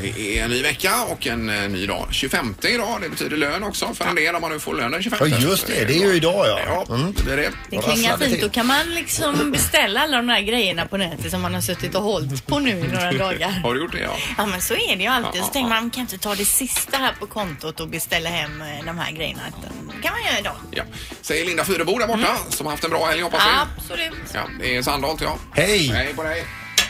Det är en ny vecka och en eh, ny dag. 25 idag, det betyder lön också för en del om man nu får lön den 25. Ja, just det. Det är ju idag, ja. Mm. Ja, det är det. Det klingar Rasslade fint. till. Då kan man liksom beställa alla de här grejerna på nätet som man har suttit och hållit på nu i några dagar. Har du gjort det? Ja. Ja men så är det ju alltid. Ja, Så ja, tänker man, kan inte ta det sista här på kontot och beställa hem eh, de här grejerna. Utan Det kan man göra idag. ja. Säger Linda Fyrebo där borta Mm. som har haft en bra helg hoppas vi. Absolut. Ja, det är Sandholt ja. Hej! Hej på dig.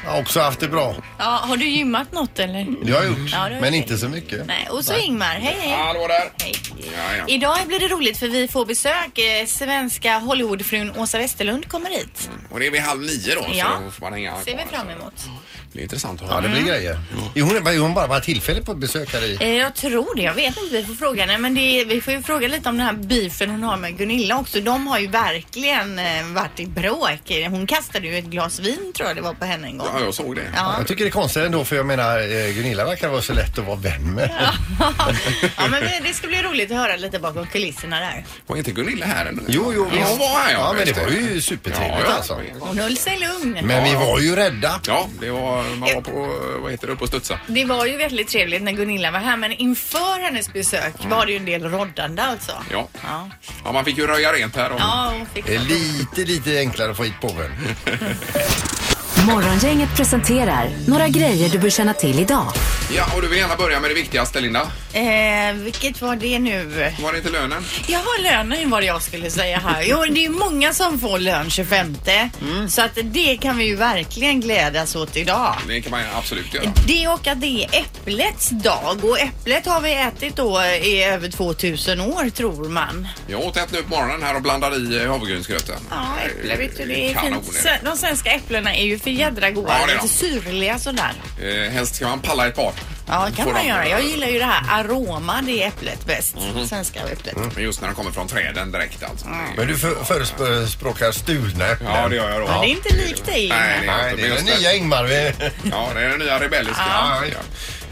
Jag har också haft det bra. Ja, har du gymmat något eller? Det har jag gjort, Ja, det har men du. inte så mycket. Nej. Och så Ingmar, hej hej. Hallå där. Hej. Ja, ja. Idag blir det roligt för vi får besök. Eh, Svenska Hollywoodfrun Åsa Westerlund kommer hit. Och det är vid halv nio då. Ja. Så då får man hänga Ser vi kvar. fram emot. Det är intressant att höra. Ja, det blir grejer. Jo, hon, är- hon bara var tillfälligt på besök här i... Eh, Jag tror det. Jag vet inte. Vi får fråga henne. Men det är, vi får ju fråga lite om den här beefen hon har med Gunilla också. De har ju verkligen eh, varit i bråk. Hon kastade ju ett glas vin tror jag det var på henne en gång. Ja, jag såg det. Ja. Jag tycker det är konstigt ändå för jag menar eh, Gunilla verkar vara så lätt att vara vän med. ja, men vi- det ska bli roligt att höra lite bakom kulisserna där. Var inte Gunilla här ännu? Jo, jo, Ja, hon var här ja. Ja, men det Just var ju supertrevligt Ja, ja. alltså. Hon höll sig lugn. Men vi var ju rädda. Ja, det var, man var på, vad heter det, uppe och studsa. Det var ju väldigt trevligt när Gunilla var här men inför hennes besök var det ju en del roddande alltså. Mm. Ja. Ja, ja, man fick ju röja rent här. Och, ja hon fick Det är lite, lite enklare att få hit påven. Morgongänget presenterar några grejer du bör känna till idag. ja, och du vill gärna börja med det viktigaste, Linda. eh, vilket var det nu? Var det inte lönen? Jag har lönen var det jag skulle säga här. Jo, det är ju många som får lön 25. Mm. Så att det kan vi ju verkligen glädjas åt idag. Det kan man absolut göra. Det och att det är äpplets dag och äpplet har vi ätit då i över 2000 år tror man. Jag åt ett nu på morgonen här och blandade i eh, havregrynsgröten. Eh, Ja, äpple vet du, det är Kanon fint. Se- De svenska äpplena är ju för jädra goda, Ja, det är de. lite syrliga sådär. det. Eh, helst ska man palla ett par. Ja, det Får kan man de- Mhm. göra. Jag gillar ju det här aroma, det är äpplet bäst. Svenska äpplet. Men just när de kommer från träden direkt alltså. Men du för, förespråkar stulna äpplen. Ja, det gör jag då. Det är inte likt dig. Nej, Ingmar. det är, Nej, det är den just nya Ingmar. vi- Ja, det är den nya rebelliska. Ja. Ja.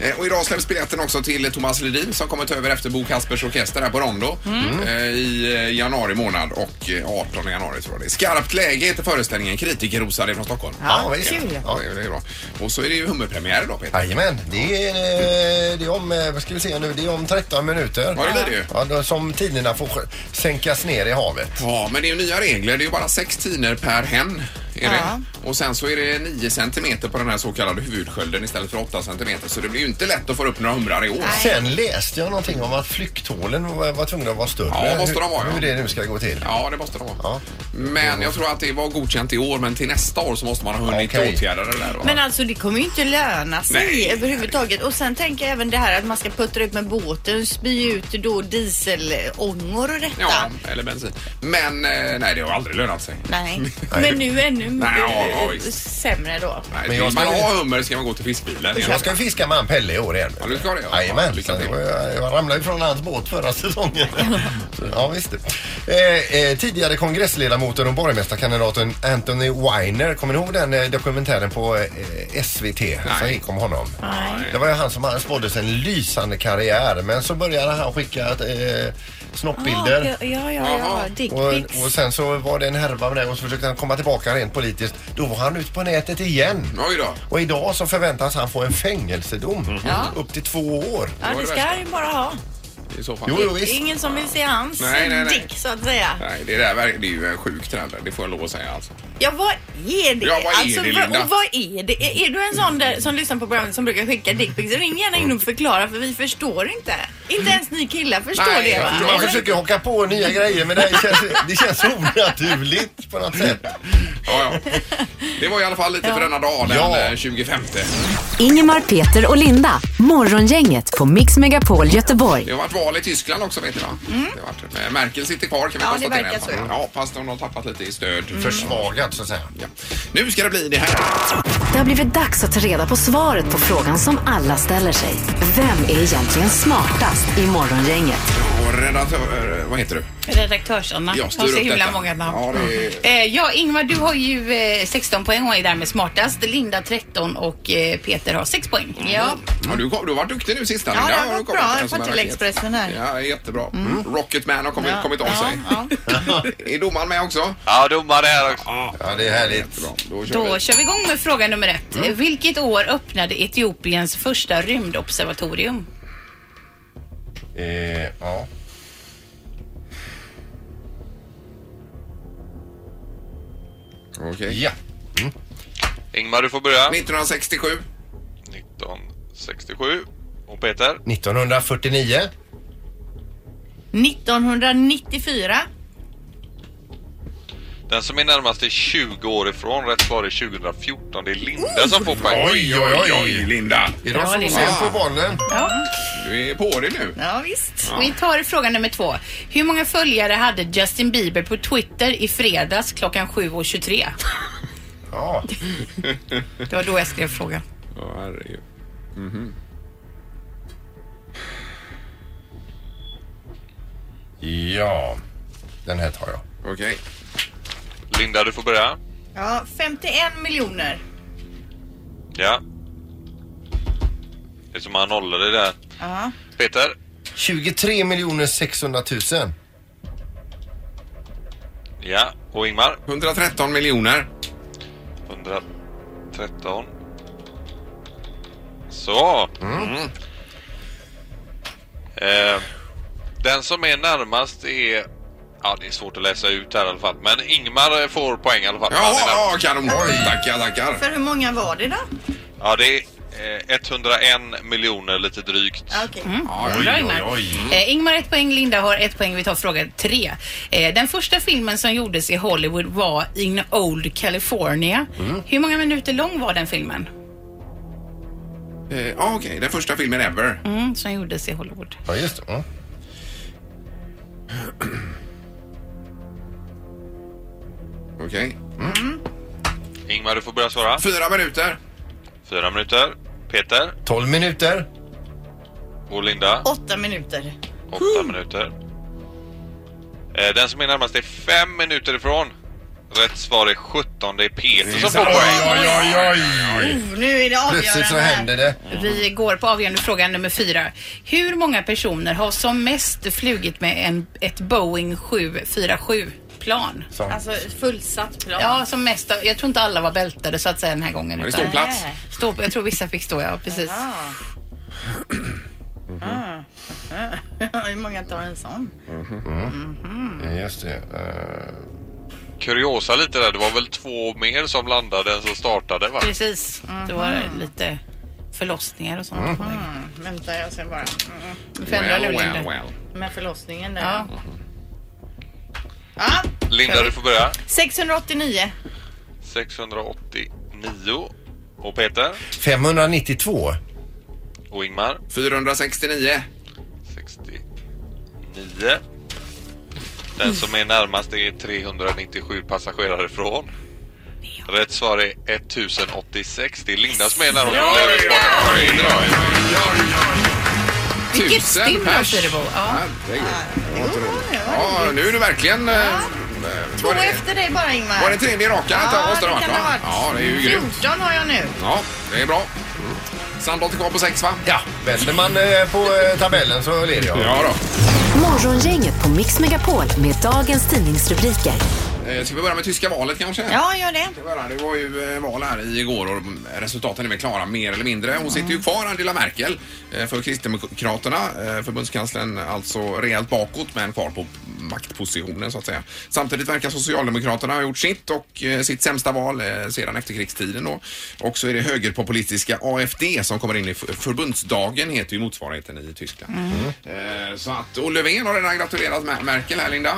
Eh, Och idag släpps biljetten också till Thomas Ledin som kommer ta över efter Bo Kaspers Orkester här på Rondo Mm. eh, i eh, januari månad och eh, 18 januari tror jag det är. Skarpt läge heter föreställningen. Kritiker rosade från Stockholm. Ja, Ja, visst. kul. Ja, det är- det är bra. Och så är det ju hummerpremiär idag Peter. Jajamän, det är, eh, det är om, eh, vad ska vi se nu, det är om 13 minuter. Ja, det blir det ju. Ja, då, som tiderna får sj- sänkas ner i havet. Ja, men det är ju nya regler. Det är ju bara sex tiner per hen. Är Ja. det? Och sen så är det 9 centimeter på den här så kallade huvudskölden istället för 8 centimeter. Så det blir ju inte lätt att få upp några humrar i år. Sen läste jag någonting om att flykthålen var, var tvungna att vara större. Ja, måste de vara, Hur, ja. hur det nu ska gå till. Ja, det måste det vara. Ja. Men jag tror att det var godkänt i år, men till nästa år så måste man ha hunnit Okej. åtgärda det där. va? Men alltså det kommer ju inte löna sig Nej. överhuvudtaget. Och sen tänker jag även det här att man ska puttra ut med båten, spy ut då dieselångor och detta. Ja, eller bensin. Men eh, nej, det har aldrig lönat sig. Nej. Nej. Men nu ännu Nej, ja, ja, eh, visst. sämre då. Nej, Men men jag vill man ska- ha hummer ska man gå till fiskbilen. igen. Jag ska ju fiska med han Pelle i år igen. Ja, du ska det, ja. Ja, Jajamän. lycka så till. det var- Jag, jag ramlade ju från hans båt förra säsongen. Så, ja, visst. det. Eh, eh, tidigare kongressledamoten och borgmästarkandidaten Anthony Weiner. Kommer ni ihåg den eh, dokumentären på eh, SVT som Nej. gick om honom? Nej. Det var ju han som hade spåddes en lysande karriär men så började han skicka eh, snoppbilder. Ja, ja, ja, ja. Jaha. Och, och dickpics. sen så var det en härva med det och så försökte han komma tillbaka rent politiskt. Då var han ute på nätet igen. Oj då. Och idag så förväntas han få en fängelsedom. Ja. Upp till två år. Ja, det ska jag ju bara ha. I så fall. Jo, jo Det är visst. ingen som vill se hans Nej, nej, nej. dick så att säga. Nej, det, där, verkar- det är ju en sjuk trend. Det får jag lov att säga alltså. Ja, vad är det? Ja, vad är alltså, det, vad- Linda? och vad är det? Är, är du en sån där, som lyssnar på programmet som brukar skicka dickpics? Ring gärna in och förklara för vi förstår inte. Inte ens ni killar förstår Nej, det jag va? förstår. Alltså, Man försöker hocka på nya grejer men det, här känns, det känns onaturligt på något sätt. Ja, ja. Det var i alla fall lite för denna dag, den Ja. eh, 25. Ingemar, Peter och Linda. Morgongänget på Mix Megapol Göteborg. Det har varit val i Tyskland också, vet ni va? Det har varit, eh, Merkel sitter kvar kan vi Mm. Ja, det konstatera. verkar så, ja. ja. Mm. ja, fast hon har tappat lite i stöd. Försvagad så att säga. Ja. Nu ska det bli det här. Det har blivit dags att ta reda på svaret på frågan som alla ställer sig. Vem är egentligen smartast i Morgongänget? Och redaktör, eh, vad heter du? Redaktörs-Anna. Jag styr har så upp himla detta. många namn. Ja, det är... Eh, ja, Ingmar, du har ju eh, 16 poäng och är därmed smartast. Linda 13 och eh, Peter Peter har sex poäng. Mm. Ja. Ja, du, kom, du har varit duktig nu sista. Mm. Ja, Linda. det har du gått kommit bra. en som Jag får en till raket. Expressen här. Mm. Ja, jättebra. Mm. Rocketman har kommit, kommit av sig. Ja, ja. Är domaren med också? Ja, domare här också. Ja, det är härligt. Jättebra. Då kör Då vi. kör vi igång med fråga nummer ett. Mm. Vilket år öppnade Etiopiens första rymdobservatorium? Eh, ja. Okej. ja. Ingmar, du får börja. 1967. 1967. Och Peter? 1949. 1994. Den som är närmast är 20 år ifrån. Rätt svar är 2014. Det är Linda som får poäng. Oj, oj, oj. Linda! Är de så Linda. sent på bollen? Du är på det nu. Ja, visst. Vi tar fråga nummer två. Hur många följare hade Justin Bieber på Twitter i fredags klockan 7.23? Ja. Det var då jag skrev frågan. Ja, herregud. ja. Den här tar jag. Okej. Linda, du får börja. Ja, 51 miljoner. Ja. Det är som han håller det där. Ja. Peter? 23 600 000. Ja. Och Ingmar? 113 miljoner. 113. Så. Mm. Eh, den som är närmast är... Ja, det är svårt att läsa ut här i alla fall. Men Ingmar får poäng i alla fall. Ja, Han är närmast. ja kanon. Tackar, tackar. För hur många var det då? ja det är eh, 101 miljoner lite drygt. Okay. Ja, Bra, Ingmar. Eh, Ingmar ett poäng, Linda har ett poäng. Vi tar fråga tre. Eh, den första filmen som gjordes i Hollywood var In Old California. Hur många minuter lång var den filmen? Eh, ja, Okej, den första filmen ever. Mm, som gjordes i Hollywood. Ja, just det. Mm. Okej. Ingmar, du får börja svara. Fyra minuter. Fyra minuter. Peter 12 minuter. och Linda, Åtta minuter. åtta minuter. Eh, den som är närmast är fem minuter ifrån. Rätt svar är 17. Det är Peter som får poäng. oj, oj, oj. Oh, nu är det avgörande. Plötsligt så här. händer det. Vi går på avgörande fråga nummer fyra. Hur många personer har som mest flugit med en, ett Boeing 747 plan? Så. Alltså fullsatt plan. Ja, som mest. Jag tror inte alla var bältade så att säga den här gången. Det är utan- ståplats. Nej. Stå, jag tror vissa fick stå, ja precis. Ja. Ah. Hur många tar en sån? Just det. Eh, Kuriosa lite där. Det var väl två mer som landade än som startade va? Precis. Det var lite förlossningar och sånt. Mm-hmm. Mm, Vänta, jag ser bara. Mm. Vi får ändra nu, Linda. well. Med förlossningen där. Ja. Ja, Linda du får börja. 689. 689. Och Peter 592. och Ingmar 469. 69. Den som är närmast är 397 passagerare ifrån. Rätt svar är 1086. Det är Linda som är närmast. Vilket Tusen stim då, pers. Fyrebo. Ja. Herregud. Det var inte roligt. Ja, nu är du verkligen... eh, eh, Två Var det, efter dig bara Ingmar. var det tredje raka? Ja, måste det ha varit, kan det va? ha Ja, varit. det är ju grymt. 14 har jag nu. Ja, det är bra. Sandholt är kvar på sex, va? Ja, vänder man eh, på eh, tabellen så leder jag. Ja då. Morgongänget på Mix Megapol med dagens tidningsrubriker. Eh, Ska vi börja med tyska valet kanske? Ja, gör det. Det var- Det var ju eh, val här igår och resultaten är väl klara mer eller mindre. Hon sitter ju kvar, Angela Merkel, eh, för Kristdemokraterna. eh, Förbundskanslern alltså rejält bakåt men kvar på maktpositionen så att säga. Samtidigt verkar Socialdemokraterna ha gjort sitt och eh, sitt sämsta val eh, sedan efterkrigstiden då. Och så är det högerpopulistiska AFD som kommer in i f- förbundsdagen heter ju motsvarigheten i Tyskland. Eh, Så att, och Löfven har redan gratulerat Mer- Merkel här Linda.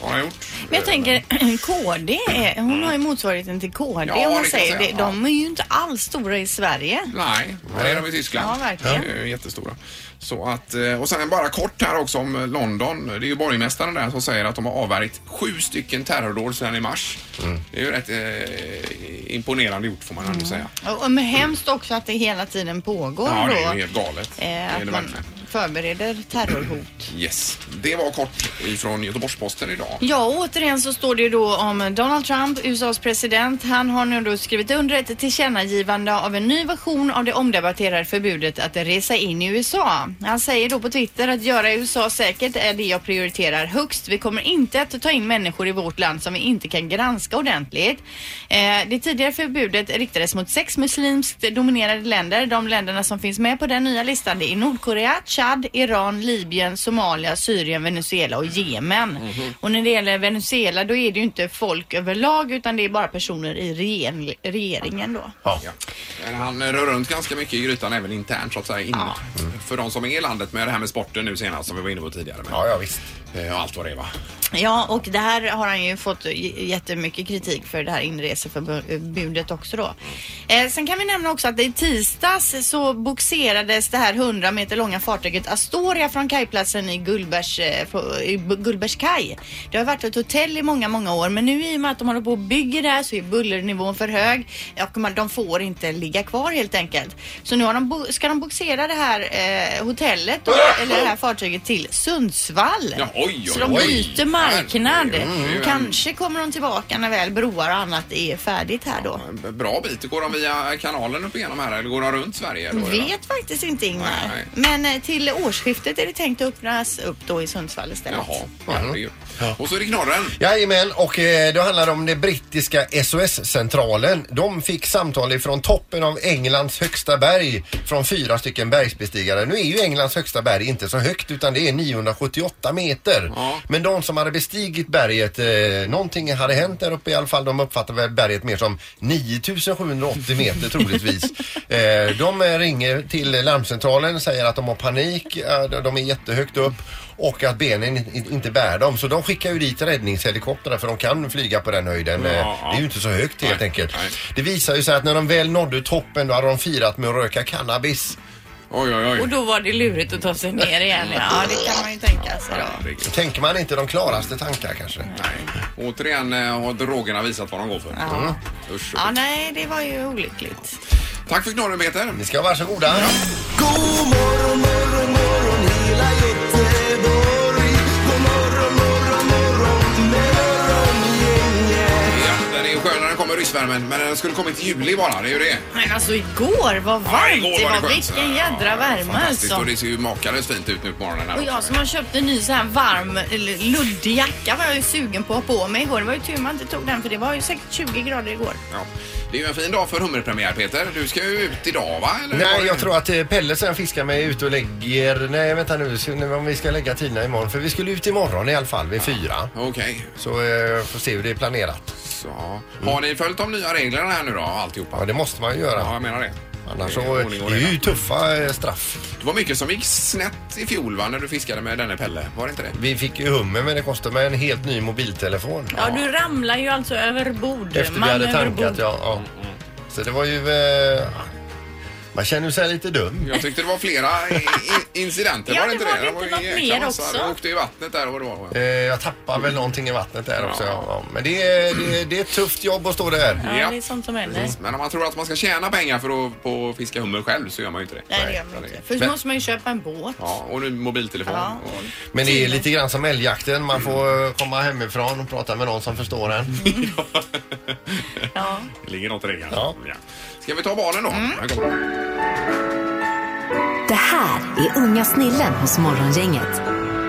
Har han gjort. Men jag tänker KD, är- hon har ju motsvarigheten till KD Ja, om man det kan säger jag säga. det. De är ju inte alls stora i Sverige. Nej, här är de i Tyskland. Ja, verkligen. Det är ju jättestora. Så att, eh, och sen bara kort här också om eh, London. Det är ju borgmästaren där som säger att de har avvärjt sju stycken terrordåd sedan i mars. Det är ju rätt eh, imponerande gjort får man Mm. ändå säga. Och, och men hemskt också att det hela tiden pågår Ja, det då. är ju helt galet. Eh, det är att det man verkligen. förbereder terrorhot. Yes. Det var kort ifrån Göteborgs-Posten idag. Ja, och återigen så står det ju då om Donald Trump, USAs president. Han har nu då skrivit under ett tillkännagivande av en ny version av det omdebatterade förbudet att resa in i USA. Han säger då på Twitter att göra USA säkert är det jag prioriterar högst. Vi kommer inte att ta in människor i vårt land som vi inte kan granska ordentligt. Eh, det tidigare förbudet riktades mot sex muslimskt dominerade länder. De länderna som finns med på den nya listan det är Nordkorea, Chad, Iran, Libyen, Somalia, Syrien, Venezuela och Jemen. Och när det gäller Venezuela då är det ju inte folk överlag utan det är bara personer i regering, regeringen då. Ja. Ja. Men han eh, rör runt ganska mycket i grytan även internt så att säga. In, För de som är i landet med det här med sporten nu senast som vi var inne på tidigare. Men, ja, ja visst. eh, Och allt vad det var. Ja, och det här har han ju fått j- jättemycket kritik för det här inreseförbudet också då. Eh, sen kan vi nämna också att i tisdags så boxerades det här 100 meter långa fartyget Astoria från kajplatsen i Gullbergs, eh, på- i B- Gullbergs kaj. Det har varit ett hotell i många, många år men nu i och med att de håller på och bygger där så är bullernivån för hög och man, de får inte ligga kvar helt enkelt. Så nu har de, bo- ska de boxera det här eh, hotellet då, eller det här fartyget till Sundsvall. Ja, oj, oj, så de oj. byter marknad. Herregud. Mm. Kanske kommer de tillbaka när väl broar och annat är färdigt här då. En b- Bra bit. Går de via kanalen upp igenom här eller går de runt Sverige? Då, idag? Vet faktiskt inte Ingmar. Nej, Men eh, till årsskiftet är det tänkt att öppnas upp då i Sundsvall istället. Jaha, herregud. Och så är det knorren. Jajamän, och eh, då handlar det om den brittiska SOS-centralen. De fick samtal ifrån toppen av Englands högsta berg från fyra stycken bergsbestigare. Nu är ju Englands högsta berg inte så högt utan det är 978 meter. Ja. Men de som hade bestigit berget, eh, någonting hade hänt där uppe i alla fall. De uppfattar väl berget mer som 9780 meter troligtvis. eh, de eh, ringer till larmcentralen och säger att de har panik, eh, de- de är jättehögt upp och att benen in- inte bär dem. Så de skickar ju dit räddningshelikoptrar för de kan flyga på den höjden. Eh, Ja, ja. Det är ju inte så högt helt Nej, enkelt. nej. Det visar ju sig att när de väl nådde toppen då hade de firat med att röka cannabis. Oj, oj, oj. Och då var det lurigt att ta sig ner igen. Ja, det kan man ju tänka sig då. Herregud. Tänker man inte de klaraste tankar kanske? Nej. Återigen eh, har drogerna visat vad de går för. Ja. Usch. ja, nej, det var ju olyckligt. Tack för knorren, Peter. Ni ska vara varsågoda. Ja, den är ju skön när den kommer ryssvärmen, men den skulle kommit i juli bara. Det är ju det. Men alltså igår, vad varmt Ja, igår det var. skönt. Vilken Ja, jädra värme Fantastiskt. alltså. Och det ser ju makalöst fint ut nu på morgonen. Här Och jag också. som har köpt en ny så här varm eller luddig jacka var jag ju sugen på att ha på mig igår. Det var ju tur man inte tog den för det var ju säkert 20 grader igår. Ja. Det är ju en fin dag för hummerpremiär, Peter. Du ska ju ut idag, va? Eller var Nej, det- jag tror att eh, Pelle sen fiskar mig ut och lägger... Nej, vänta nu. så nu Om vi ska lägga tiderna imorgon. För vi skulle ut imorgon i alla fall vid fyra. Okej. Så eh, får se hur det är planerat. Så. Mm. Har ni följt de nya reglerna här nu då, alltihopa? Ja, det måste man ju Ja, göra. jag menar det. Annars Det så... är Det ordning och är ju reda. tuffa eh, straff. Det var mycket som gick snett i fjol, va, när du fiskade med denne Pelle. Var det inte det? Vi fick ju hummer, men det kostade mig en helt ny mobiltelefon. Ja, du ramlar ju alltså över bord. Efter vi man hade över tankat, bord. ja. ja. Så det var ju... Eh, man känner sig lite dum. Jag tyckte det var flera i- i- incidenter, Ja, var det det inte var det? det inte ju något en mer jäkla massa. också? Du åkte i vattnet där och vad det var. Eh, Jag tappar väl någonting i vattnet där också. Ja. Ja. Ja. Men det är, det, är, det är ett tufft jobb att stå där. Ja, Ja. det är sånt som händer. Men om man tror att man ska tjäna pengar för att på fiska hummer själv så gör man ju inte det. Nej, det gör man inte. Först Men- måste man ju köpa en båt. Ja, och nu mobiltelefon. Ja. Och... Men det är lite grann som älgjakten. Man får eh, komma hemifrån och prata med någon som förstår en. Ja. Det ligger något i det Ja. Ska vi ta barnen då? Mm. Här kommer de. Det här är Unga snillen hos Morgongänget.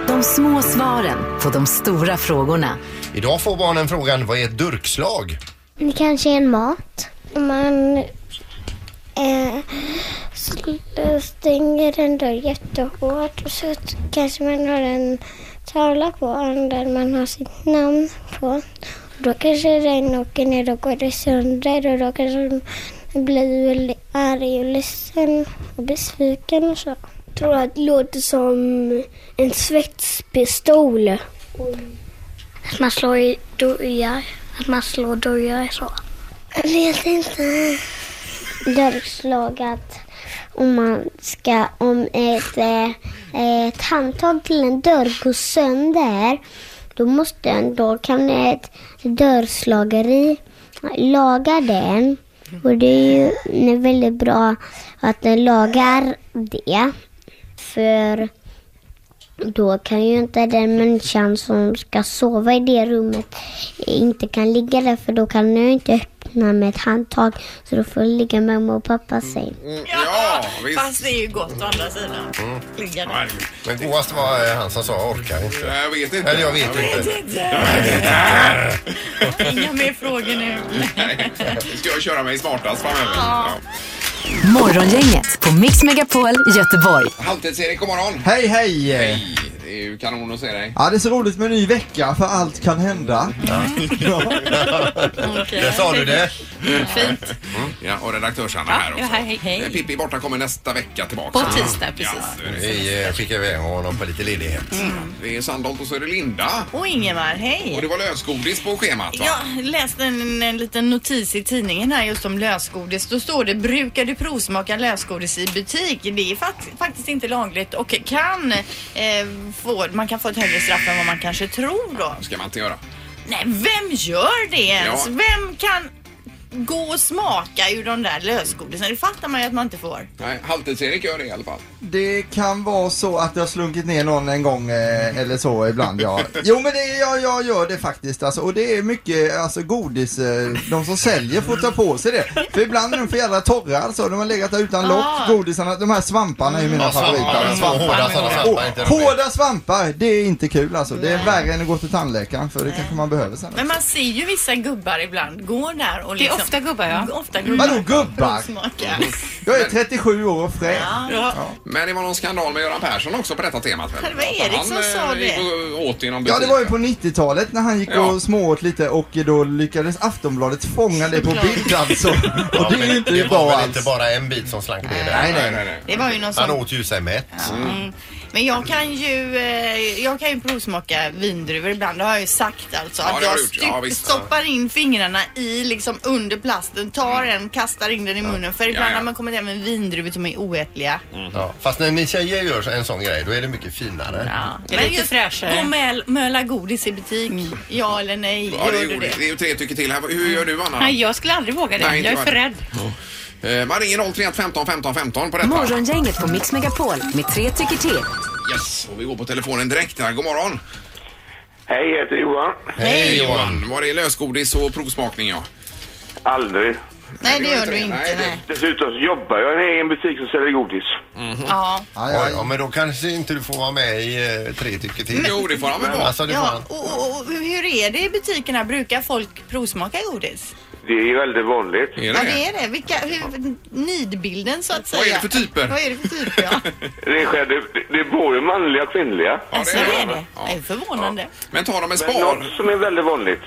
De små svaren på de stora frågorna. Idag får barnen frågan vad är ett durkslag? Det kanske är en mat. Man eh, sl- stänger en dörr jättehårt och så t- kanske man har en tavla på den där man har sitt namn på. Då kanske den åker ner och går det sönder och då kanske man blir väl arg och ledsen och besviken och så. Jag tror att det låter som en svetspistol. Att man slår i dörrar. Att man slår dörrar så. Jag vet inte. Dörrslagat. Om man ska, om ett, eh, ett handtag till en dörr går sönder. Då måste en, då kan ett dörrslageri laga den. Och det är ju väldigt bra att den lagar det. För då kan ju inte den människan som ska sova i det rummet inte kan ligga där för då kan jag inte öppna med ett handtag så då får jag ligga med mamma och pappa säng. Mm, ja, visst. Mm. Fast det är ju gott å andra sidan. Ligga där. Nej, Men godast var eh, han som sa orkar inte. Jag vet inte. Eller jag vet inte. Inga mer frågor nu. Nej. Ska jag köra mig smartast framöver? Ja. Morgongänget på Mix Megapol Göteborg. Halvtids-Erik, god morgon. Hej, hej! Hej. Det är ju kanon att se dig. Ja, det är så roligt med en ny vecka för allt kan hända. Där sa du det. Fint. Ja, och redaktörs-Anna här också. ja, hej, hej. Eh, Pippi borta kommer nästa vecka tillbaka. På tisdag, Ja, precis. det är det. Vi eh, skickar iväg honom på lite ledighet. det är Sandholt och så är det Linda. Och Ingemar, Och hej. det var lösgodis på schemat va? Jag läste en, en liten notis i tidningen här just om lösgodis. Då står det brukar du provsmaka lösgodis i butik? Det är fakt- faktiskt inte lagligt och kan eh, få, man kan få ett högre straff än vad man kanske tror då. ska man inte göra. Nej, vem gör det ens? Ja. Vem kan gå och smaka ur de där lösgodisarna? Det fattar man ju att man inte får. Nej, Halvtids-Erik gör det i alla fall. Det kan vara så att jag har slunkit ner någon en gång eh, eller så ibland ja. Jo men det, ja, jag gör det faktiskt alltså, och det är mycket alltså, godis, eh, de som säljer får ta på sig det. För ibland är de för jävla torra alltså, de har legat där utan lock, Ah. godisarna, de här svamparna är ju mina Ja, svampar. favoriter. Mm. Hårda sådana svampar är inte Och, roliga. hårda svampar, det är inte kul alltså. Det är värre än att gå till tandläkaren för det kanske man behöver sen. Men man ser ju vissa gubbar ibland gå där och Det är liksom... ofta gubbar, ja. Ofta gubbar. Vadå gubbar? Provsmaka. Jag är 37 år och fräsch. Men det var någon skandal med Göran Persson också på detta temat väl? Ja, det var Erik Han, som eh, sa det. gick och åt i någon Ja, det butik, var ju va? på 90-talet när han gick Ja. och smååt lite och då lyckades Aftonbladet fånga det på bild alltså. Ja, Och det är men ju inte det bra var väl inte alls. bara en bit som slank ner där. Nej, Nej, nej. nej, nej. Det var ju någon Han sån... åt ju sig mätt. Mm. Men jag kan ju, eh, jag kan ju provsmaka vindruvor ibland. Det har jag ju sagt alltså. Ja, Att det har jag du gjort. Ja, visst. stoppar in fingrarna i liksom under plasten, tar en, kastar in den i munnen. För Mm. Ja, ibland Mm. ja. har man kommit hem med vindruvor som är oätliga. Ja. Fast när ni tjejer gör en sån grej, då är det mycket finare. Ja. Det är lite fräschare. Gå och möl, möla godis i butik. Ja eller nej, Mm. Ja, det, gör är ju, du det? det är ju tre tycker till här. Hur gör du Anna? Nej, jag skulle aldrig våga det. Nej, inte jag är jag. för rädd. Eh, Man ringer 031 15 15 15 på detta. Morgongänget på Mix Megapol med tre tycker till. Yes, och vi går på telefonen direkt här. God morgon. Hej, jag heter Johan. Hej Johan, var det lösgodis och provsmakning ja? Aldrig. Nej, det gör du inte. Nej, Nej, det- Dessutom så jobbar jag i en egen butik som säljer godis. Mm. Ja. Aj, Ja, aj. ja, men då kanske inte du får vara med i eh, Tre tycker till. Jo, det får han väl vara. Alltså, det får Ja, han. och, och, och hur är det i butikerna? Brukar folk provsmaka godis? Det är ju väldigt vanligt. Är Ja, det? det är det. Vilka, hur, nidbilden så att säga. Vad är det för typer? Vad är det för typer, ja. Det är, själv- det, det är både manliga och kvinnliga. Alltså, det är det det. är det. Ja. Det är förvånande. Men tar de en Men något spar? som är väldigt vanligt,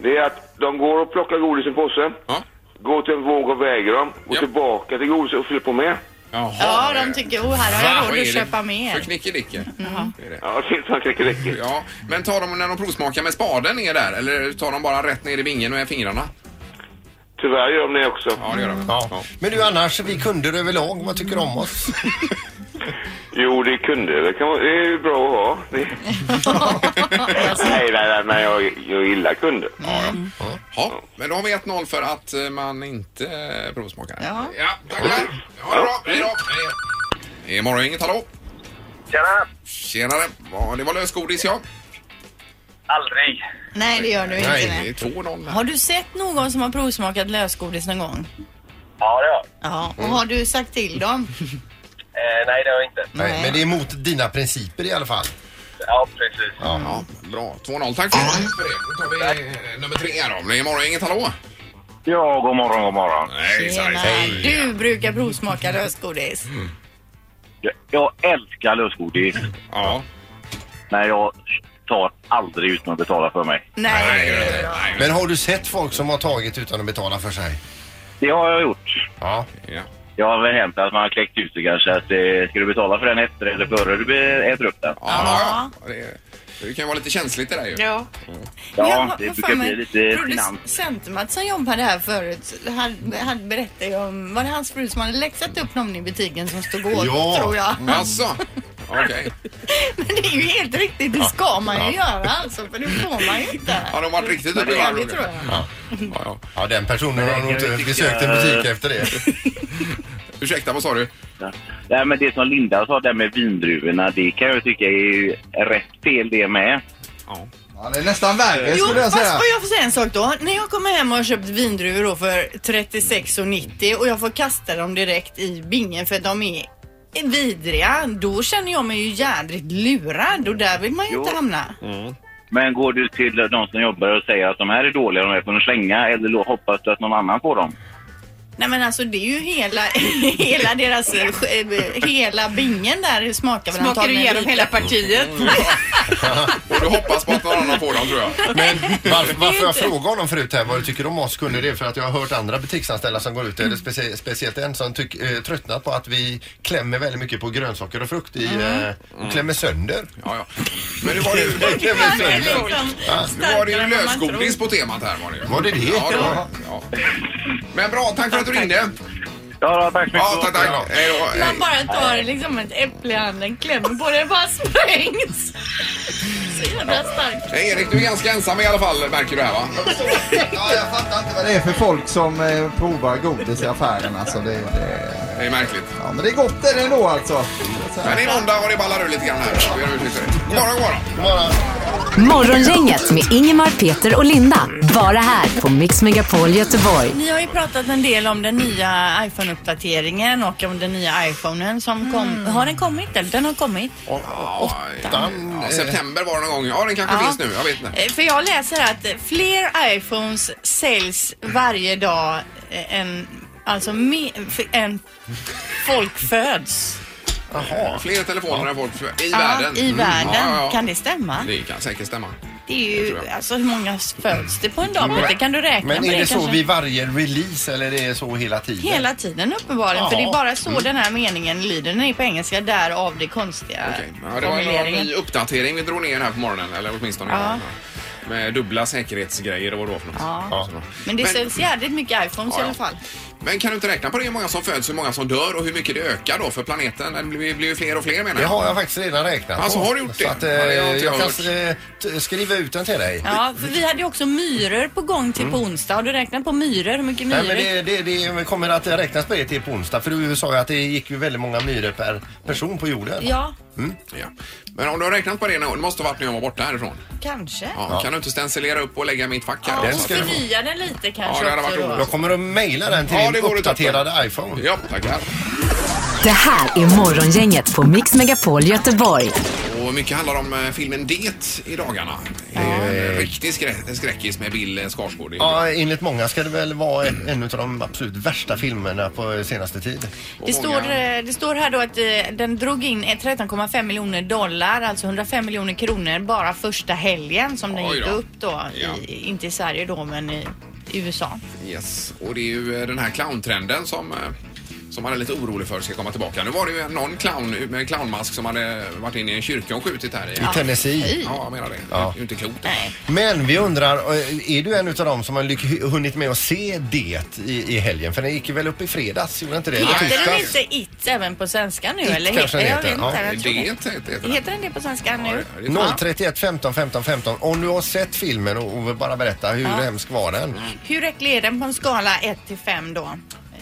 det är att de går och plockar godis i en påse, Ja. går till en våg och väger dem, går Ja. tillbaka till godis och fyller på mer. Jaha. Ja, de tycker, oh, här har jag Vad råd är att det köpa mer. Mm. För knickedicke. Det är det. Ja, det är som knäcker räcker. Ja, men tar de när de provsmakar med spaden ner där eller tar de bara rätt ner i vingen med fingrarna? Tyvärr gör de det också. Ja, det gör de. Ja. Men du annars, vi kunder överlag, vad tycker du om oss? Jo, det är kunder. Det, kan, vara- det är ju bra att ha. Det... nej, nej, nej, men jag, jag gillar kunder. Ja, men då har vi 1-0 för att eh, man inte eh, provsmakar. Ja. ja tackar. Ha det bra. Hej då. Hej då. Det är morgongänget, hallå. Tjena! Tjenare. Ja, det var lösgodis ja. Aldrig. Nej, det gör du inte. Nej. Det Nej. är 2-0 här. Har du sett någon som har provsmakat lösgodis någon gång? Ja, det har Ja, och har du sagt till dem? eh, Nej, det har jag inte. Nej, men det är emot dina principer i alla fall. Ja, precis. Ja, bra. 2-0. Tack så mycket för det. Då tar vi eh, nummer tre här då. Det är morgongänget, hallå. Ja, god morgon, god morgon. Nej, Tjena. Du brukar provsmaka lösgodis. Jag, jag älskar lösgodis, Ja. men jag tar aldrig utan att betala för mig. Nej, Nej, det är det. Nej, Men har du sett folk som har tagit utan att betala för sig? Det har jag gjort. Ja. ja. Jag har väl hänt att man har kläckt ut det kanske. Att, eh, ska du betala för den efter eller före du be- äter upp den? Ja, ja. Det, det kan ju vara lite känsligt det där ju. Ja. Ja, Jag har- det har brukar för mig- bli lite genant. Producent-Mats som jobbade här förut, han, han berättade ju om, var det hans fru som hade läxat upp någon i butiken som stod åt, Ja. tror jag. Alltså, okej. Men det är ju helt riktigt, det ska man ju göra alltså, för det får man ju inte. Har de varit riktigt uppe i Ja, det varv, tror jag. Ja, ja. Ja, den personen har nog jag inte tycka- besökt en butik efter det. Ursäkta, vad sa du? Nej, men det som Linda sa där med vindruvorna, det kan jag tycka är ju rätt fel det med. Ja. Ja, det är nästan värre Jo, skulle jag fast säga. får jag få säga en sak då? När jag kommer hem och har köpt vindruvor då för 36,90 och jag får kasta dem direkt i bingen för att de är vidriga, då känner jag mig ju jädrigt lurad och där vill man ju Jo. inte hamna. Men går du till de som jobbar och säger att de här är dåliga, de här får ni slänga, eller då hoppas du att någon annan får dem? Nej men alltså det är ju hela, hela deras, eh, sk- eh, hela bingen där smakar väl Smakar du antagligen igenom lite. hela partiet? Mm. Och du hoppas på att någon annan får dem tror jag. Men varför, varför jag frågade honom förut här vad du tycker om oss kunder det är för att jag har hört andra butiksanställda som går ut, Mm. eller specie, speciellt en som tyck, eh, tröttnat på att vi klämmer väldigt mycket på grönsaker och frukt i, eh, och klämmer sönder. Ja, Mm. ja. Men det var ju, Klämmer sönder. liksom det liksom. var det ju lösgodis på temat här var det ju. Var det det? Ja, det var det. Ja. Men bra, tack för att du ringde. Ja, tack så mycket. Ja, tack, tack. Hej då. Hej. Man bara tar liksom ett äpple i handen, klämmer på det och bara sprängs. Så jävla starkt. Hej, Erik, du är ganska ensam i alla fall märker du här va? Ja, jag fattar inte vad det är för folk som eh, provar godis i affären alltså. Det, det, Det är märkligt. ja, men det är gott är det ändå alltså. Men det är måndag och det ballar ur lite grann här. Vi gör ursäkt för det. God morgon, god morgon. Morgongänget med Ingemar, Peter och Linda. Bara här på Mix Megapol Göteborg. Ni har ju pratat en del om den nya iPhone-uppdateringen och om den nya iPhonen som kom. Har den kommit eller? Den har kommit. Ja, ja, september var det någon gång. Ja, den kanske Ja. finns nu. Jag vet inte. Eh, För jag läser att eh, fler iPhones säljs varje dag eh, än, alltså, me, f- än folk föds Fler telefoner än folk för- i Ja, världen. i Mm, världen. ja, ja, ja. Kan det stämma? Det kan säkert stämma. Det är det ju, tror jag. alltså hur många föds det på en dag Peter? Kan du räkna Men på är det så kanske? vid varje release eller är det så hela tiden? Hela tiden uppenbarligen, för det är bara så Mm. den här meningen lyder. Den är på engelska, därav det konstiga Okej. Ja, det var en formuleringen. ny uppdatering vi drog ner här på morgonen, eller åtminstone Ja. idag. Med dubbla säkerhetsgrejer, det var då för något. Ja. Ja. Men det Men- säljs jävligt mycket iPhones Ja, i ja. alla fall. Men kan du inte räkna på det, hur många som föds, hur många som dör och hur mycket det ökar då för planeten? Det blir blir ju fler och fler menar Det jag. har jag faktiskt redan räknat Alltså, på. har du gjort Så det? att, eh, Ja, det har jag, inte jag kan hört. eh, t- skriva ut den till dig. Ja, för vi hade ju också myror på gång Mm. till på onsdag. Har du räknat på myror? Hur mycket myror? Nej, men det, det, det kommer att räknas på det till på onsdag för du sa ju att det gick ju väldigt många myror per person på jorden. Ja, Ja. Men om du har räknat på det, nu- det måste ha varit när jag var borta härifrån. kanske. Ja, Kan du inte stencilera upp och lägga i mitt fack här? Ja, den och ska du få. förnya den lite Ja, kanske det hade också varit då. Jag kommer att mejla den till Ja, det din vore uppdaterade toppen. iPhone. Ja, tackar. Det här är Morgongänget på Mix Megapol Göteborg. Och mycket handlar om eh, filmen Det i dagarna. Det är ju en riktig skrä- skräckis med Bill Skarsgård. i- Ja, enligt många ska det väl vara en, en av de absolut värsta filmerna på senaste tid. och Det många- står, eh, det står här då att eh, den drog in ett 13,5 miljoner dollar, alltså 105 miljoner kronor, bara första helgen som den Oj gick då. upp då. Ja. I, inte i Sverige då, men i USA. Yes. Och det är ju eh, den här clowntrenden som eh, som man är lite orolig för ska komma tillbaka. Nu var det ju någon clown med en clownmask som hade varit inne i en kyrka och skjutit här i... I Tennessee. Ja, jag menar det. Det är ju inte klokt. Nej. Men vi undrar, eh, är du en av dem som har lyck- hunnit med att se det i, i helgen? För den gick ju väl upp i fredags, gjorde den inte det? Eller Heter den tisdags? inte It även på svenska nu? eller? kanske den Jag heter, vet ja. inte, jag tror Det är inte heter det. den. Heter den det på svenska Ja, nu? det är fan. 031 15 15 15. Om du har sett filmen och, och vill bara berätta hur hemsk var den? Hur äcklig är den på en skala 1 till 5 då?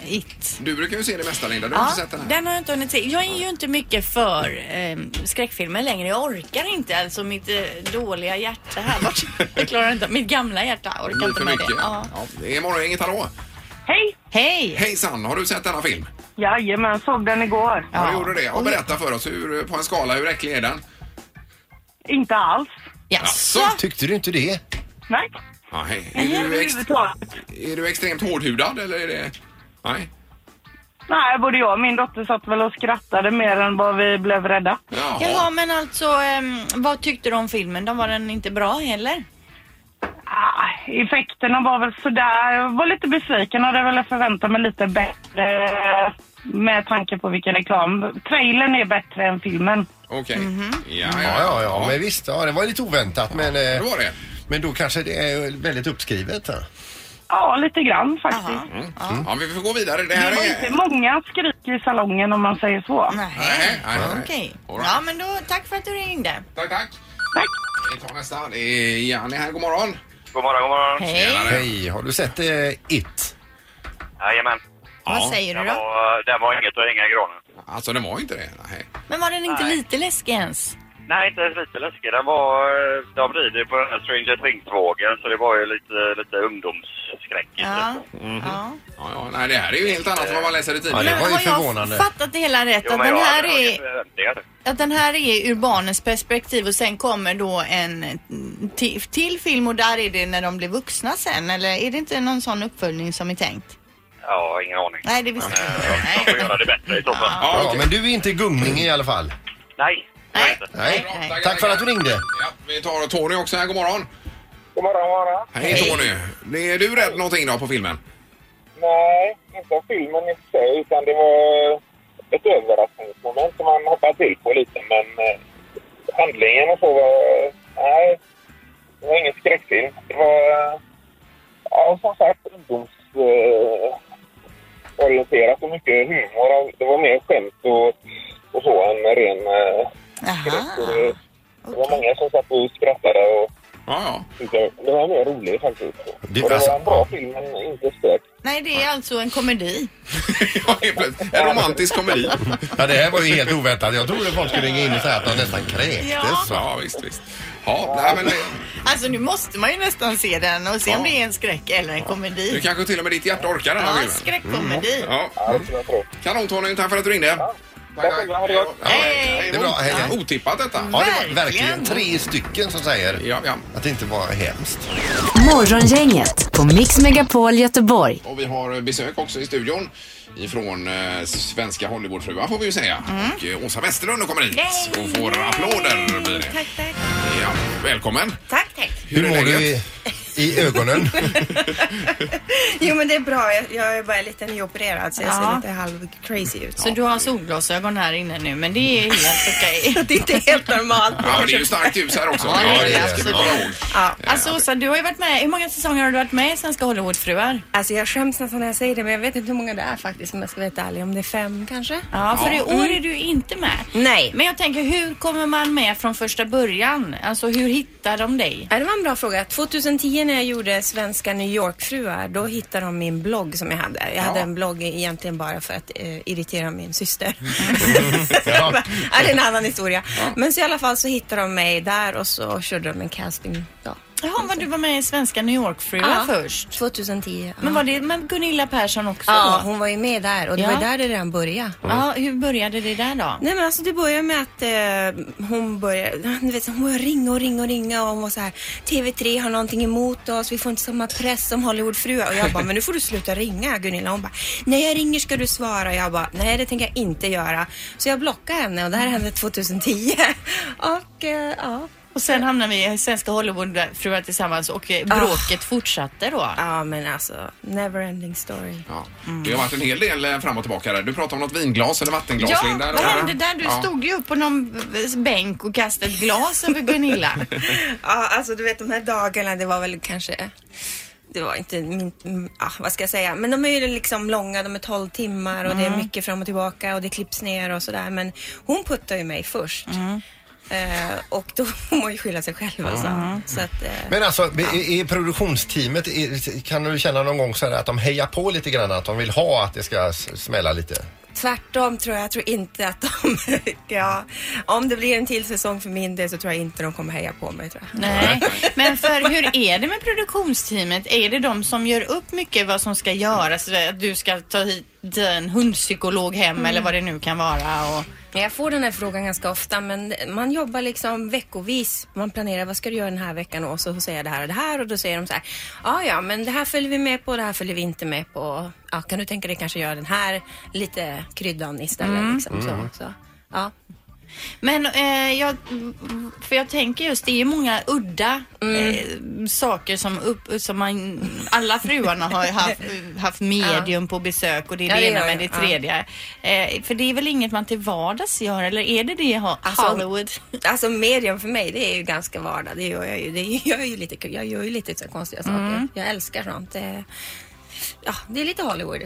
It. Du brukar ju se det mesta Linda, du har Ja, inte sett den här? den har jag inte hunnit se. Jag är ju inte mycket för eh, skräckfilmer längre. Jag orkar inte. Alltså mitt eh, dåliga hjärta här borta. Jag klarar inte. Mitt gamla hjärta Det orkar blir inte för med det. mycket. Ja. Ja, det är morgon, inget hallå. Hej! Hej! Hejsan, har du sett denna film? Jajamän, såg den igår. Ja, du gjorde det. Ja, berätta för oss, hur, på en skala, hur äcklig är den? Inte alls. Jaså? Jaså? Tyckte du inte det? Nej, Ja, hej. är, du ex, överhuvudtaget. är du extremt hårdhudad eller är det... Nej? Nej, både jag och min dotter satt väl och skrattade mer än vad vi blev rädda. Jaha. Jaha, men alltså ehm, vad tyckte du om filmen? Då var den inte bra heller? Ah, effekterna var väl sådär. Jag var lite besviken och hade väl förväntat mig lite bättre eh, med tanke på vilken reklam. Trailern är bättre än filmen. Okej. Ja, ja, Ja, ja, ja, men visst. Ja, det var lite oväntat, men, Det eh, var det. men då kanske det är väldigt uppskrivet. va? Ja, lite grann faktiskt. Mm. Ja, vi får gå vidare. Det Det här var är... inte många skrik i salongen om man säger så. Nej, nej, nej. Okej. All right. Ja, men då tack för att du ringde. Tack, tack. Tack. Vi tar nästa. Det är Janne här. God morgon. God morgon, god morgon. Hej! Tjenare. Hej, har du sett eh, It? Jajamän. Vad säger du Den då? var, den var inget att hänga i granen. Alltså det var inte det? Nej. Men var den inte Nej. lite läskig ens? Nej, inte ens lite läskig. Den var, eh, de rider på den här Stranger Things-vågen så det var ju lite, lite ungdomsskräck. Ja. Mm-hmm. ja. Ja, ja, nej, det här är ju helt annat än vad man läser i tidningen. Ja, det var ju har förvånande. jag fattat det hela rätt? att, den här är, är... att den här är ur barnens perspektiv och sen kommer då en mm, ti- till film och där är det när de blir vuxna sen eller är det inte någon sån uppföljning som är tänkt? Ja, ingen aning. Nej, det visste jag inte. De får Nej. göra det bättre i så fall. Ja, Ja, okej. men du är inte i gungning i alla fall. Nej. Nej. Nej. Nej. Tack för att du ringde. Ja, vi tar Tony också här. God morgon. God morgon, god morgon. Hej, Tony. Blev du rädd någonting då på filmen? Nej, inte av filmen i sig, utan det var ett överraskningsmoment som man hoppade till på lite. Men eh, handlingen och så var... Nej, det var ingen skräckfilm. Det var... eh, Ja, som sagt, ungdomsorienterat eh, orienterat och mycket humor. Det var mer skämt och, och så än ren eh, Aha. skräck. Och det, det var många som satt och skrattade och Ja, ja. tyckte det var mer roligt faktiskt. Det- och det alltså- var en bra film, men inte skräck. Nej, det är alltså en komedi. Ja, helt plötsligt. En romantisk komedi. Ja, det här var ju helt oväntat. Jag trodde folk skulle ringa in och säga att de nästan Ja. kräktes. va? Ja, visst, visst. Ja, nej, men eh, det- Alltså nu måste man ju nästan se den och se om Ja. det är en skräck eller en komedi. nu kanske till och med ditt hjärta orkar den här Ja, filmen. skräckkomedi. Ja. Ja, det tror jag tror. Kanon Tony, tack för att du ringde. Tack själva, ha det gott. Ja, Hej. hej. Det är bra, hej, hej. Otippat detta. Ja, det var Verkligen. verkligen tre stycken som säger Ja, ja. att det inte var hemskt. Morgongänget på Mix Megapol Göteborg. Och vi har besök också i studion ifrån eh, svenska Hollywoodfruar får vi ju säga. Och eh, Åsa Westerlund kommer hit och får applåder. Blir det. Tack, tack. Ja, välkommen. Tack, tack. Hur är mår läget? du i, i ögonen? Jo, men det är bra. Jag, jag är bara lite nyopererad så jag Ja. ser lite halv crazy ut. Så du har solglasögon här inne nu, men det är helt okej. Det är inte helt normalt. Ja, men det är ju starkt ljus här också. Ja, det är det. ska vi komma ihåg. Ja. Alltså Åsa, du har ju varit med, hur många säsonger har du varit med i Svenska Hollywoodfruar? Alltså jag skäms nästan när jag säger det men jag vet inte hur många det är faktiskt om jag ska vara helt ärlig. Om det är fem kanske? Ja, Mm. för i år är du inte med. Nej. Men jag tänker, hur kommer man med från första början? Alltså hur hittar de dig? Ja, det var en bra fråga. 2010 när jag gjorde Svenska New York-fruar, då hittade de min blogg som jag hade. Jag hade en blogg egentligen bara för att eh, irritera min syster. Mm. ja. det är en annan historia. Men så i alla fall så hittade de mig där och så körde de en casting. Ja. Jaha, vad du var med i Svenska New York-fruar Ja. först. 2010. Ja. Men var det med Gunilla Persson också? ja, Mm. då? hon var ju med där och det Ja. var där det redan började. ja, hur började det där då? Nej men alltså det började med att eh, hon började, du vet, hon började ringa och ringa och ringa och hon var så här TV3 har någonting emot oss, vi får inte samma press som Hollywoodfruar och jag bara men nu får du sluta ringa Gunilla. Hon bara när jag ringer ska du svara och jag bara nej det tänker jag inte göra. Så jag blockade henne och det här hände 2010 och eh, ja. Och sen hamnade vi i Svenska Hollywoodfruar tillsammans och eh, bråket fortsatte då. ja men alltså never ending story. Ja. Det har varit en hel del eh, fram och tillbaka där. Du pratade om något vinglas eller vattenglas, Ja, Linda. vad eller? hände där? Du stod ju upp på någon eh, bänk och kastade ett glas över Gunilla. Ja, alltså du vet de här dagarna, det var väl kanske det var inte min, mm, ah, vad ska jag säga, men de är ju liksom långa, de är 12 timmar och det är mycket fram och tillbaka och det klipps ner och sådär. Men hon puttar ju mig först. Eh, och då får man ju skylla sig själv alltså. Så att, eh, Men alltså, i, i produktionsteamet, i- kan du känna någon gång så här att de hejar på lite grann? Att de vill ha att det ska s- smälla lite? tvärtom tror jag, jag tror inte att de, ja, om det blir en till säsong för min del så tror jag inte de kommer heja på mig tror jag. Nej, men för hur är det med produktionsteamet? Är det de som gör upp mycket vad som ska göras? Att du ska ta hit en hundpsykolog hem eller Mm. vad det nu kan vara? Och... Men Jag får den här frågan ganska ofta men man jobbar liksom veckovis. Man planerar vad ska du göra den här veckan och så säger jag det här och det här och då säger de så här. Ja, ja, men det här följer vi med på, det här följer vi inte med på. Ja, kan du tänka dig kanske göra den här lite kryddan istället liksom så. så. Ja. Men eh, jag, för jag tänker just, det är ju många udda Mm. eh, saker som, upp, som man, alla fruarna har ju haft, haft medium på besök och det är Ja, det, det ena gör med det jag, ja. tredje. Eh, för det är väl inget man till vardags gör eller är det det ha- Alltså- Hollywood? Alltså medium för mig det är ju ganska vardag, det gör jag ju. Det gör jag ju lite, jag gör ju lite så konstiga saker. Jag älskar sånt. Det, ja, det är lite Hollywood.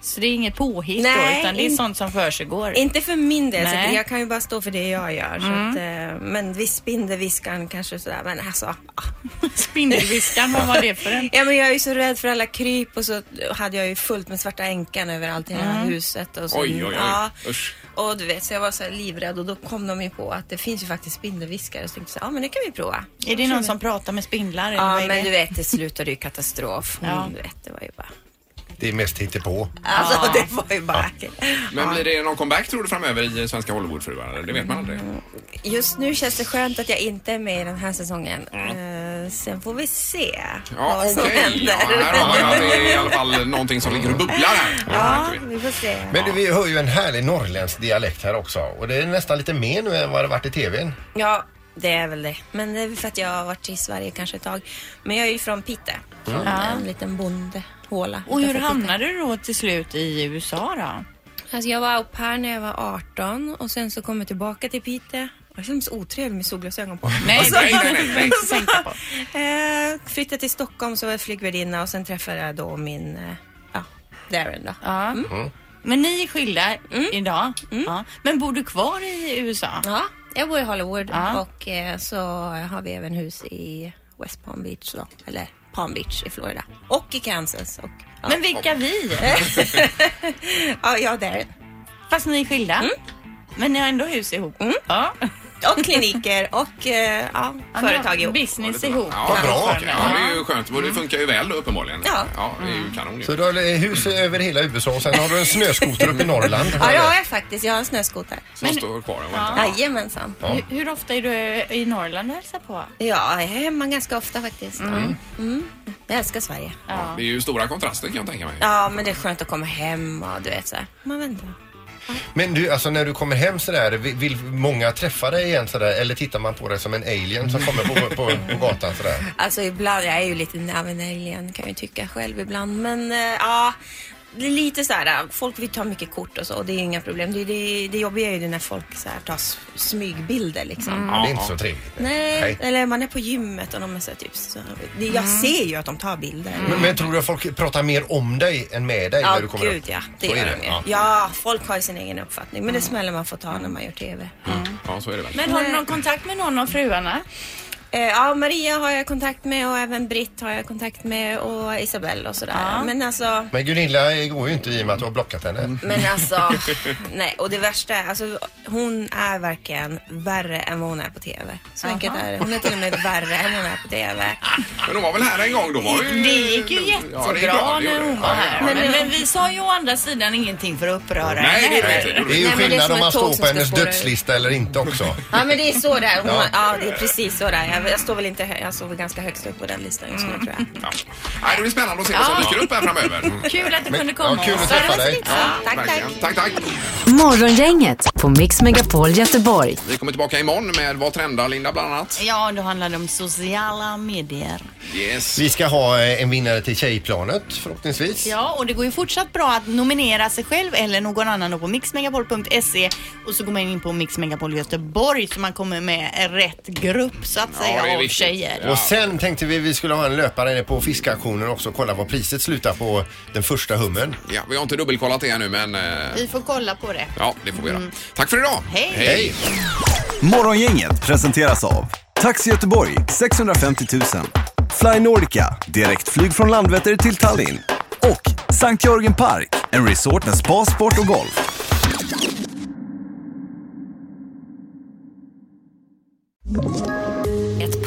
Så det är inget påhitt då, Nej, utan det är in- sånt som försiggår. Inte för min del, så Nej. Mm. det- jag kan ju bara stå för det jag gör. Så att, eh, men visst, spindelviskan kanske sådär, men alltså. ah. Spindelviskan, vad var det för en? Ja, men jag är ju så rädd för alla kryp och så hade jag ju fullt med svarta änkan överallt i det Mm. här huset. Och så, Oj, oj, oj. Ja, Usch. och du vet, så jag var så här livrädd och då kom de ju på att det finns ju faktiskt spindelviskare. Så tänkte jag så här, ja men det kan vi prova. Är det någon som pratar med spindlar? eller Ja, vad är men det? du vet, det slutade ju i katastrof. Hon, Ja. du vet, det var ju bara... Det är mest hittepå. Alltså, det var ju bara... Men blir det någon comeback tror du framöver i eh, Svenska Hollywoodfruar? eller? Det vet man aldrig. Just nu känns det skönt att jag inte är med i den här säsongen. Eh, sen får vi se Ja, vad som okej. Ja, händer. här har vi att det är i alla fall någonting som ligger och bubblar här. Ja, vi får se. Men du, vi hör ju en härlig norrländsk dialekt här också. Och det är nästan lite mer nu än vad det varit i tvn. Ja, det är väl det. Men det är väl för att jag har varit i Sverige kanske ett tag. Men jag är ju från Pite. Från en liten bondehåla. Och hur utanför Pite. hamnade du då till slut i USA då? Alltså jag var au pair när jag var 18 och sen så kom jag tillbaka till Pite. Jag känner mig så otrevlig med solglasögon på. Nej, Och så- nej, nej, nej, nej. och så- eh, Flyttade till Stockholm så var jag flygvärdinna och sen träffade jag då min, eh, ja, Darren då. Ja. Mm. Men ni är skilda idag. Ja. Men bor du kvar i USA? Ja, jag bor i Hollywood Ja. och eh, så har vi även hus i West Palm Beach då, eller Palm Beach i Florida. Och i Kansas. Och, ja. Men vilka vi? ja, jag där. Fast ni är skilda? Mm. Men ni har ändå hus ihop? Ja. Och kliniker och eh, ja, företag ihop. Business ihop. Mm. Ja, bra. fortfarande. Ja, det är ju skönt. Och det funkar ju väl då, uppenbarligen. Ja. det är ju kanon. ju. Så du har eh, hus över hela USA och sen har du en snöskoter uppe i Norrland. Ja, det har jag faktiskt. Jag har en snöskoter. Som står kvar och väntar. Jajamensan. Hur, hur ofta är du i Norrland och hälsar på? Ja, jag är hemma ganska ofta faktiskt. Mm. Mm. Jag älskar Sverige. Det är ju stora kontraster kan jag tänka mig. Ja, men det är skönt att komma hem och du vet så här. Man väntar. Men du, alltså när du kommer hem sådär, vi- vill många träffa dig igen sådär? Eller tittar man på dig som en alien som kommer på, på, på gatan sådär? Alltså ibland, jag är ju lite av en alien kan jag ju tycka själv ibland. Men eh, ja, det är lite så här. eh, folk vill ta mycket kort och så och det är inga problem. Det, det, det jobbiga är ju det när folk så här, tar s- smygbilder liksom. Det är inte så trevligt. Nej, Nej. eller man är på gymmet och de är så här, typ så, det, Jag ser ju att de tar bilder. Men, men tror du att folk pratar mer om dig än med dig Ja, när Mm. du kommer gud upp? ja. Det Så gör är de ju. Ja. folk har ju sin egen uppfattning. Men det smäller man får ta när man gör TV. Ja, så är det väl. Men har du någon kontakt med någon av fruarna? Eh, ja, Maria har jag kontakt med och även Britt har jag kontakt med och Isabelle och sådär. Men alltså... Men Gunilla eh, går ju inte i och med att du har blockat henne. Men alltså, nej. Och det värsta är, alltså, hon är verkligen värre än vad hon är på TV. Så enkelt är det. Hon är till och med värre än hon är på TV. Men de var väl här en gång? Då var ju... Det gick ju Ja, det är jättebra bra, det när gjorde det. hon var Ja, här. ja, ja. Men, men vi sa ju å andra sidan ingenting för att uppröra Nej, det henne. gjorde vi inte. Det Det gjorde är vi ju inte. Nej, men det är skillnad som om ett man står tåg som på ska hennes spåra ur. dödslista eller inte också. Ja men det är så där. Hon, Ja. ja. ja det är precis så där. Jag, jag står väl inte hö- jag står väl ganska högst upp på den listan just nu tror jag. Ja. Nej, det blir spännande att se vad som dyker upp här framöver. Kul att du Men- kunde ja, komma. kul att Sara träffa dig. Smidt. Ja, Tack, tack. verkligen. tack, tack. Morgongänget på Mix Megapol Göteborg. Vi kommer tillbaka imorgon med Vad trendar Linda bland annat. Ja, då handlar det om sociala medier. Yes. Vi ska ha eh, en vinnare till Tjejplanet förhoppningsvis. Ja, och det går ju fortsatt bra att nominera sig själv eller någon annan då på mixmegapol.se och så går man in på Mix Megapol Göteborg så man kommer med rätt grupp så att det är säga av viktigt. tjejer. Ja. Och sen tänkte vi vi skulle ha en löpare nere på fiskauktionen också och kolla vad priset slutar på den första hummen. Ja, vi har inte dubbelkollat det ännu, men eh, Vi får kolla på det. ja, det får vi göra. Tack för idag. Mm. Hej. Hej. Morgongänget presenteras av Taxi Göteborg 650 000 Fly Nordica, direktflyg från Landvetter till Tallinn och Sankt Jörgen Park, en resort med spa, sport och golf. Ett